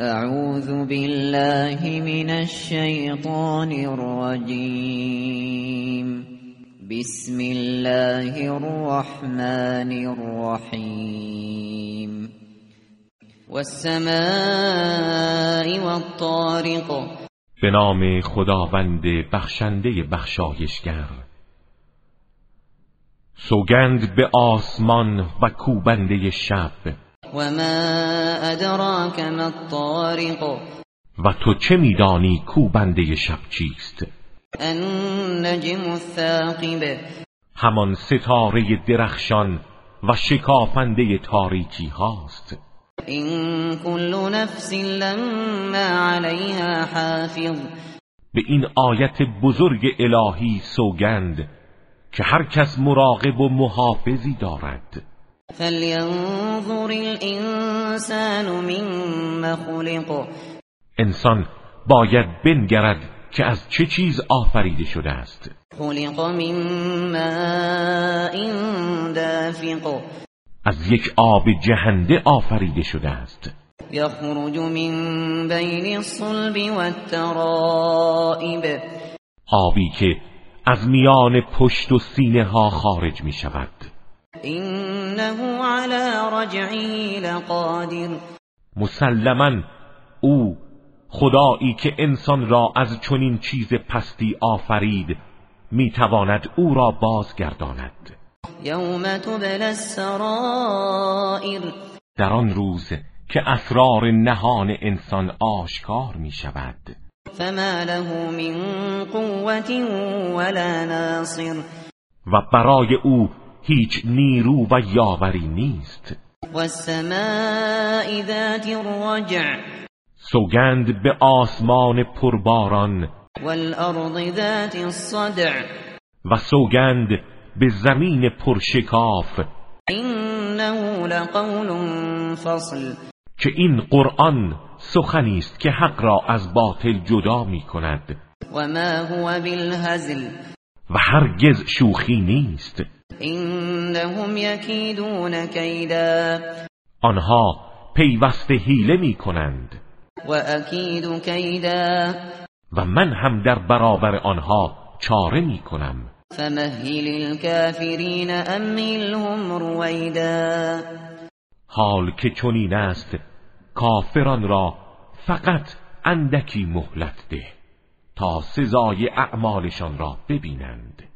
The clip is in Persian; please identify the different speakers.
Speaker 1: أعوذ بالله من الشيطان الرجيم بسم الله الرحمن الرحيم والسماء والطارق
Speaker 2: به نام خداوند بخشنده بخشایشگر سوگند به آسمان و کوبنده شب
Speaker 1: وما أدراك ما الطارق
Speaker 2: و تو چه میدانی کوبنده شب چیست
Speaker 1: النجم الثاقب
Speaker 2: همان ستاره درخشان و شکافنده تاریکی هاست
Speaker 1: إن كل نفس لما عليها حافظ
Speaker 2: به این آیت بزرگ الهی سوگند که هر کس مراقب و محافظی دارد
Speaker 1: فلينظر الإنسان مما خلق
Speaker 2: انسان باید بنگرد که از چه چیز آفریده شده است
Speaker 1: خلق من ماء دافق
Speaker 2: از یک آب جهنده آفریده شده است
Speaker 1: يخرج من بين الصلب والترائب
Speaker 2: آبی که از میان پشت و سینه ها خارج می شود
Speaker 1: إنه على رجعه لقادر
Speaker 2: مسلما او خدایی که انسان را از چنین چیز پستی آفرید میتواند او را بازگرداند
Speaker 1: يوم تبلى السرائر
Speaker 2: در آن روز که اسرار نهان انسان آشکار می شود
Speaker 1: فما له من قوة ولا ناصر
Speaker 2: و برای او هیچ نیرو و یاوری نیست
Speaker 1: والسماء ذات الرجع
Speaker 2: سوگند به آسمان پرباران
Speaker 1: والأرض ذات الصدع
Speaker 2: و سوگند به زمین پرشکاف
Speaker 1: إنه لقول فصل
Speaker 2: که این قرآن سخنی است که حق را از باطل جدا می کند
Speaker 1: وما هو بالهزل
Speaker 2: و هرگز شوخی نیست
Speaker 1: إنهم يكيدون كيدا
Speaker 2: آنها پیوسته حیله می کنند
Speaker 1: وأكيد كيدا
Speaker 2: و من هم در برابر آنها چاره می کنم
Speaker 1: فمهل الكافرين أمهلهم رويدا
Speaker 2: حال که چنین است کافران را فقط اندکی مهلت ده تا سزای اعمالشان را ببینند